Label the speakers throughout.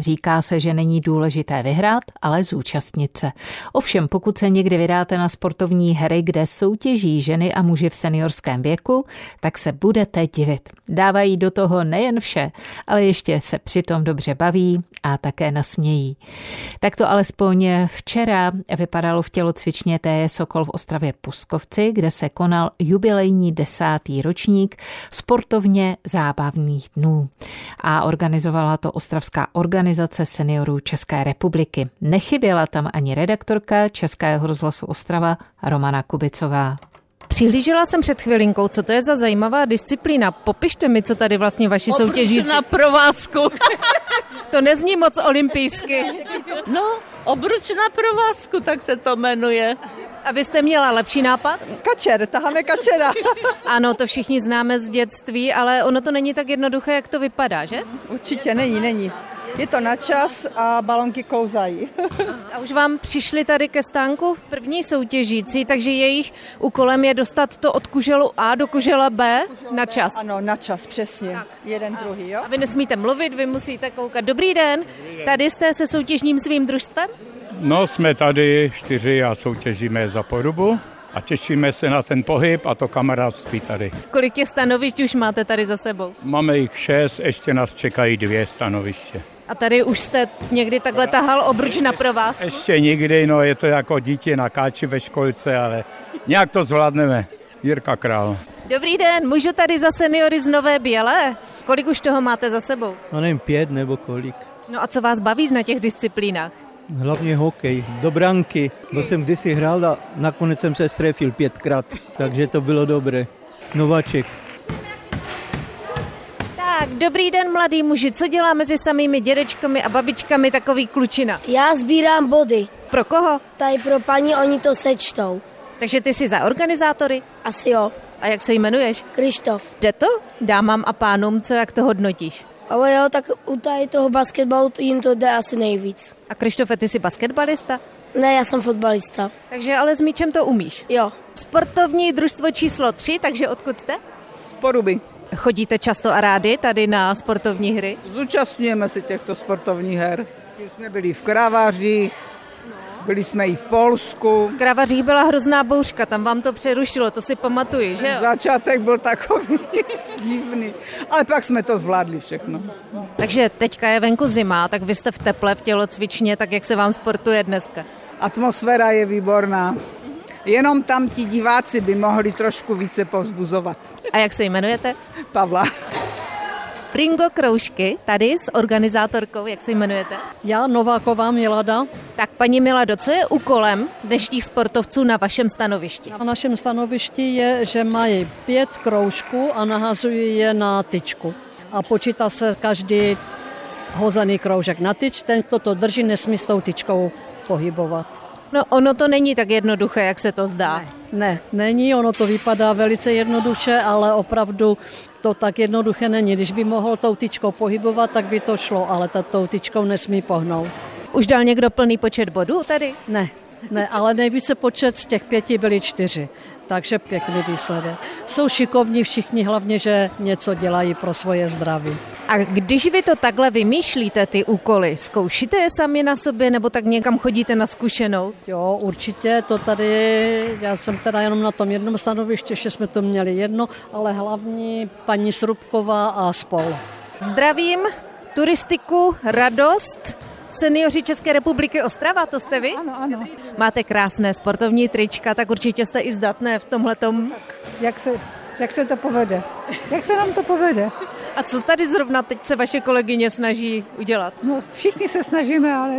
Speaker 1: Říká se, že není důležité vyhrát, ale zúčastnit se. Ovšem, pokud se někdy vydáte na sportovní hry, kde soutěží ženy a muži v seniorském věku, tak se budete divit. Dávají do toho nejen vše, ale ještě se přitom dobře baví a také nasmějí. Tak to alespoň včera vypadalo v tělocvičně TE Sokol v Ostravě Puskovci, kde se konal jubilejní desátý ročník sportovně zábavných dnů. A organizovala to ostravská organizace organizace seniorů České republiky. Nechyběla tam ani redaktorka Českého rozhlasu Ostrava Romana Kubicová.
Speaker 2: Přihlížela jsem před chvilinkou, co to je za zajímavá disciplína. Popište mi, co tady vlastně vaši
Speaker 3: Obruč
Speaker 2: soutěžící...
Speaker 3: na provázku.
Speaker 2: to nezní moc olympijsky.
Speaker 3: no, obruč na provázku, tak se to jmenuje.
Speaker 2: A vy jste měla lepší nápad?
Speaker 4: Kačer, taháme kačera.
Speaker 2: ano, to všichni známe z dětství, ale ono to není tak jednoduché, jak to vypadá, že?
Speaker 4: Určitě není, není. Je to na čas a balonky kouzají.
Speaker 2: A už vám přišli tady ke stánku první soutěžící, takže jejich úkolem je dostat to od kuželu A do kužela B na čas.
Speaker 4: Ano, na čas, přesně. Tak. Jeden, a, druhý, jo?
Speaker 2: A vy nesmíte mluvit, vy musíte koukat. Dobrý den, Dobrý den. tady jste se soutěžním svým družstvem?
Speaker 5: No, jsme tady čtyři a soutěžíme za porubu a těšíme se na ten pohyb a to kamarádství tady.
Speaker 2: Kolik těch stanovišť už máte tady za sebou?
Speaker 5: Máme jich šest, ještě nás čekají dvě stanoviště.
Speaker 2: A tady už jste někdy takhle tahal obruč na provázku?
Speaker 5: Ještě nikdy, no je to jako dítě na káči ve školce, ale nějak to zvládneme. Jirka Král.
Speaker 2: Dobrý den, můžu tady za seniory z Nové Bělé? Kolik už toho máte za sebou?
Speaker 6: No nevím, pět nebo kolik.
Speaker 2: No a co vás baví na těch disciplínách?
Speaker 6: Hlavně hokej, do branky. To jsem kdysi hrál a nakonec jsem se strefil pětkrát, takže to bylo dobré. Nováček.
Speaker 2: Tak, dobrý den, mladý muži. Co dělá mezi samými dědečkami a babičkami takový klučina?
Speaker 7: Já sbírám body.
Speaker 2: Pro koho?
Speaker 7: Tady pro paní, oni to sečtou.
Speaker 2: Takže ty jsi za organizátory?
Speaker 7: Asi jo.
Speaker 2: A jak se jmenuješ?
Speaker 7: Krištof.
Speaker 2: Jde to? Dámám a pánům, co jak to hodnotíš?
Speaker 7: Ale jo, tak u tady toho basketbalu jim to jde asi nejvíc.
Speaker 2: A Krištofe, ty jsi basketbalista?
Speaker 7: Ne, já jsem fotbalista.
Speaker 2: Takže ale s míčem to umíš?
Speaker 7: Jo.
Speaker 2: Sportovní družstvo číslo 3, takže odkud jste?
Speaker 8: Z Poruby.
Speaker 2: Chodíte často a rádi tady na sportovní hry?
Speaker 8: Zúčastňujeme se těchto sportovních her. Když jsme byli v Kravářích, byli jsme i v Polsku.
Speaker 2: V Kravařích byla hrozná bouřka, tam vám to přerušilo, to si pamatuju, že?
Speaker 8: Začátek byl takový divný, ale pak jsme to zvládli všechno.
Speaker 2: Takže teďka je venku zima, tak vy jste v teple, v tělocvičně, tak jak se vám sportuje dneska?
Speaker 8: Atmosféra je výborná. Jenom tam ti diváci by mohli trošku více povzbuzovat.
Speaker 2: A jak se jmenujete?
Speaker 8: Pavla.
Speaker 2: Ringo Kroužky, tady s organizátorkou, jak se jmenujete?
Speaker 9: Já, Nováková Milada.
Speaker 2: Tak paní Milado, co je úkolem dnešních sportovců na vašem stanovišti?
Speaker 9: Na našem stanovišti je, že mají pět kroužků a nahazují je na tyčku. A počítá se každý hozený kroužek na tyč, ten, kdo to drží, nesmí s tou tyčkou pohybovat.
Speaker 2: No ono to není tak jednoduché, jak se to zdá.
Speaker 9: Ne, ne, není, ono to vypadá velice jednoduše, ale opravdu to tak jednoduché není. Když by mohl tou tyčkou pohybovat, tak by to šlo, ale ta tou tyčkou nesmí pohnout.
Speaker 2: Už dal někdo plný počet bodů tady?
Speaker 9: Ne, ne, ale nejvíce počet z těch pěti byly čtyři, takže pěkný výsledek. Jsou šikovní všichni, hlavně, že něco dělají pro svoje zdraví.
Speaker 2: A když vy to takhle vymýšlíte, ty úkoly, zkoušíte je sami na sobě, nebo tak někam chodíte na zkušenou?
Speaker 9: Jo, určitě, to tady, já jsem teda jenom na tom jednom stanovišti, ještě jsme to měli jedno, ale hlavní paní Srubková a spol.
Speaker 2: Zdravím, turistiku, radost, Seniori České republiky Ostrava, to jste vy?
Speaker 10: Ano, ano.
Speaker 2: Máte krásné sportovní trička, tak určitě jste i zdatné v tomhletom.
Speaker 10: Jak se, jak se to povede? Jak se nám to povede?
Speaker 2: A co tady zrovna teď se vaše kolegyně snaží udělat?
Speaker 10: No, všichni se snažíme, ale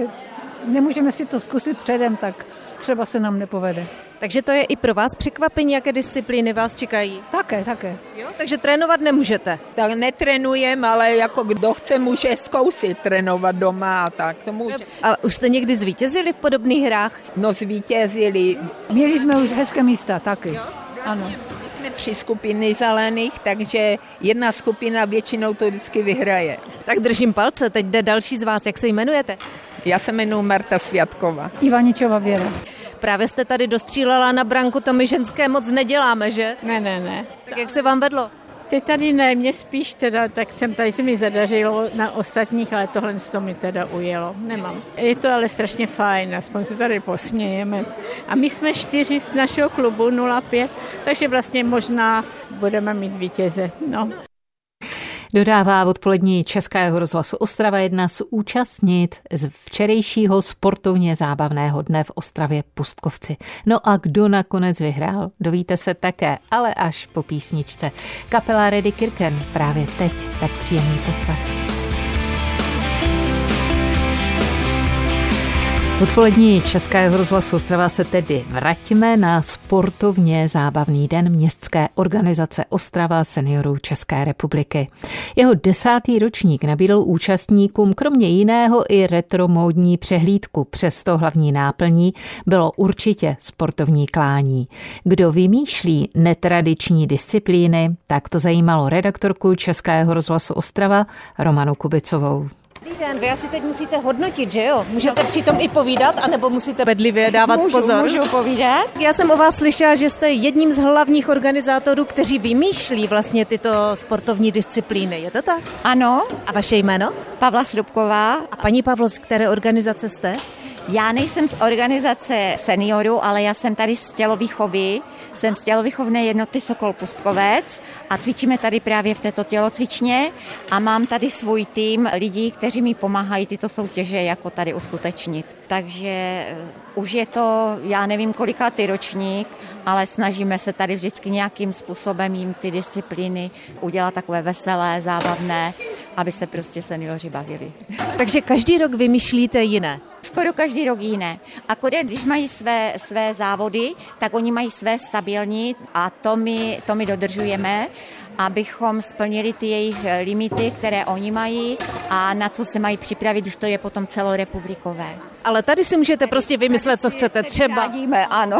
Speaker 10: nemůžeme si to zkusit předem, tak třeba se nám nepovede.
Speaker 2: Takže to je i pro vás překvapení, jaké disciplíny vás čekají?
Speaker 10: Také, také.
Speaker 2: Jo, takže trénovat nemůžete?
Speaker 11: Tak netrénujem, ale jako kdo chce, může zkousit trénovat doma a tak. To může.
Speaker 2: A už jste někdy zvítězili v podobných hrách?
Speaker 11: No zvítězili.
Speaker 10: Měli jsme už hezké místa taky. Jo?
Speaker 11: Ano jsme tři skupiny zelených, takže jedna skupina většinou to vždycky vyhraje.
Speaker 2: Tak držím palce, teď jde další z vás, jak se jmenujete?
Speaker 11: Já se jmenuji Marta Světková.
Speaker 10: Ivaničová Věra.
Speaker 2: Právě jste tady dostřílela na branku, to my ženské moc neděláme, že?
Speaker 10: Ne, ne, ne.
Speaker 2: Tak jak se vám vedlo?
Speaker 12: Teď tady ne, mě spíš teda, tak jsem tady se mi zadařilo na ostatních, ale tohle z to mi teda ujelo. Nemám. Je to ale strašně fajn, aspoň se tady posmějeme. A my jsme čtyři z našeho klubu 05, takže vlastně možná budeme mít vítěze. No.
Speaker 1: Dodává odpolední Českého rozhlasu Ostrava jedna z účastnit z včerejšího sportovně zábavného dne v Ostravě Pustkovci. No a kdo nakonec vyhrál, dovíte se také, ale až po písničce. Kapela Reddy Kirken právě teď, tak příjemný poslech. Odpolední Českého rozhlasu Ostrava se tedy vraťme na sportovně zábavný den městské organizace Ostrava seniorů České republiky. Jeho desátý ročník nabídl účastníkům kromě jiného i retromódní přehlídku, přesto hlavní náplní bylo určitě sportovní klání. Kdo vymýšlí netradiční disciplíny, tak to zajímalo redaktorku Českého rozhlasu Ostrava Romanu Kubicovou.
Speaker 2: Dobrý den, vy asi teď musíte hodnotit, že jo? Můžete přitom i povídat, anebo musíte
Speaker 13: bedlivě dávat
Speaker 2: můžu,
Speaker 13: pozor.
Speaker 2: Můžu povídat. Já jsem o vás slyšela, že jste jedním z hlavních organizátorů, kteří vymýšlí vlastně tyto sportovní disciplíny. Je to tak?
Speaker 9: Ano.
Speaker 2: A vaše jméno?
Speaker 9: Pavla Srubková.
Speaker 2: A paní Pavlo, z které organizace jste?
Speaker 9: Já nejsem z organizace seniorů, ale já jsem tady z tělovýchovy. Jsem z tělovýchovné jednoty Sokol Pustkovec a cvičíme tady právě v této tělocvičně a mám tady svůj tým lidí, kteří mi pomáhají tyto soutěže jako tady uskutečnit. Takže eh, už je to, já nevím, kolikátý ročník, ale snažíme se tady vždycky nějakým způsobem jim ty disciplíny udělat takové veselé, zábavné, aby se prostě seniori bavili.
Speaker 2: Takže každý rok vymýšlíte jiné?
Speaker 9: Skoro každý rok jiné. Akorát když mají své, své závody, tak oni mají své stabilní a to my, to my dodržujeme abychom splnili ty jejich eh, limity, které oni mají a na co se mají připravit, když to je potom celorepublikové.
Speaker 2: Ale tady si můžete prostě vymyslet, co chcete. Třeba,
Speaker 9: rádíme, ano.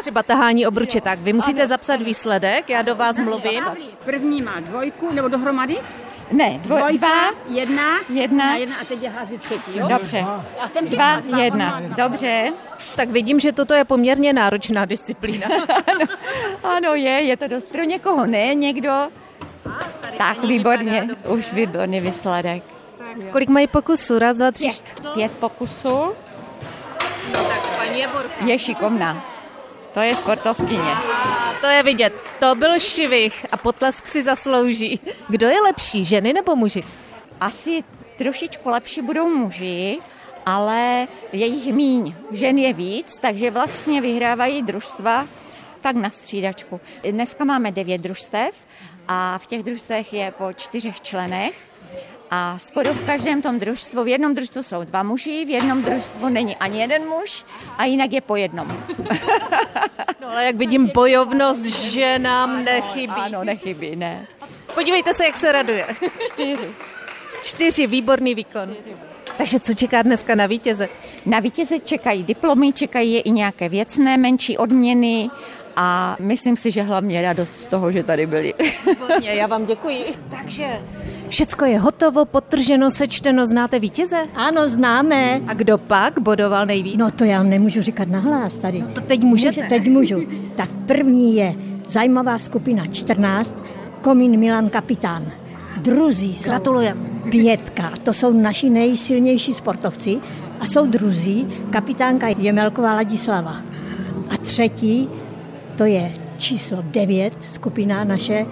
Speaker 2: třeba tahání obruče, tak vy musíte zapsat výsledek, já do vás mluvím.
Speaker 14: První má dvojku, nebo dohromady?
Speaker 9: Ne, dvoj,
Speaker 14: dvojka,
Speaker 9: dva,
Speaker 14: jedna,
Speaker 9: jedna,
Speaker 14: jedna a teď je hází třetí, jo?
Speaker 9: Dobře.
Speaker 14: Já jsem
Speaker 9: Dva,
Speaker 14: řekla, dva,
Speaker 9: jedna.
Speaker 14: on má dva.
Speaker 9: Dobře.
Speaker 2: Tak vidím, že toto je poměrně náročná disciplína.
Speaker 9: Ano, je, je to dost. Pro někoho ne, někdo. Tak, výborně, už výborný výsledek.
Speaker 2: Kolik mají pokusů? Raz, dva, tři, čtyři.
Speaker 9: Pět pokusů,
Speaker 2: No. Paní Jeborka.
Speaker 9: je šikovná. To je sportovkyně.
Speaker 2: A to je vidět. To byl šivih a potlesk si zaslouží. Kdo je lepší, ženy nebo muži?
Speaker 9: Asi trošičku lepší budou muži, ale je jich míň. Žen je víc, takže vlastně vyhrávají družstva tak na střídačku. Dneska máme devět družstev a v těch družstvech je po čtyřech členech a skoro v každém tom družstvu, v jednom družstvu jsou dva muži, v jednom družstvu není ani jeden muž a jinak je po jednom.
Speaker 2: No ale jak vidím, bojovnost ženám nechybí.
Speaker 9: Ano, nechybí, ne.
Speaker 2: Podívejte se, jak se raduje.
Speaker 9: Čtyři.
Speaker 2: Čtyři, výborný výkon. Takže co čeká dneska na vítěze?
Speaker 9: Na vítěze čekají diplomy, čekají je i nějaké věcné menší odměny a myslím si, že hlavně radost z toho, že tady byli.
Speaker 2: Výborně, já vám děkuji. Takže všecko je hotovo, potrženo, sečteno, znáte vítěze?
Speaker 15: Ano, známe.
Speaker 2: A kdo pak bodoval nejvíc?
Speaker 15: No to já nemůžu říkat nahlas tady. No
Speaker 2: to teď můžete.
Speaker 15: Může, teď můžu. Tak první je zajímavá skupina 14, Komín Milan Kapitán. Druzí jsou
Speaker 2: Gratulujem.
Speaker 15: Pětka, to jsou naši nejsilnější sportovci a jsou druzí, kapitánka Jemelková Ladislava. A třetí, to je číslo 9, skupina naše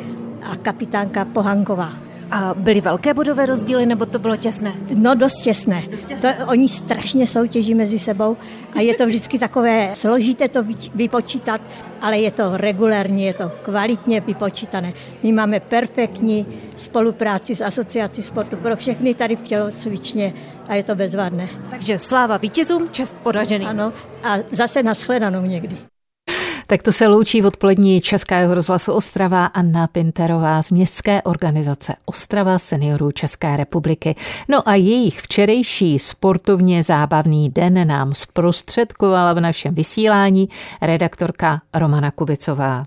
Speaker 15: a kapitánka Pohanková.
Speaker 2: A byly velké bodové rozdíly, nebo to bylo těsné?
Speaker 15: No dost těsné. To, oni strašně soutěží mezi sebou a je to vždycky takové složité to vyč- vypočítat, ale je to regulérně, je to kvalitně vypočítané. My máme perfektní spolupráci s Asociací sportu pro všechny tady v tělocvičně a je to bezvadné.
Speaker 2: Takže sláva vítězům, čest poraženým.
Speaker 15: Ano, a zase nashledanou někdy.
Speaker 1: Tak to se loučí v odpolední Českého rozhlasu Ostrava Anna Pinterová z městské organizace Ostrava seniorů České republiky. No a jejich včerejší sportovně zábavný den nám zprostředkovala v našem vysílání redaktorka Romana Kubicová.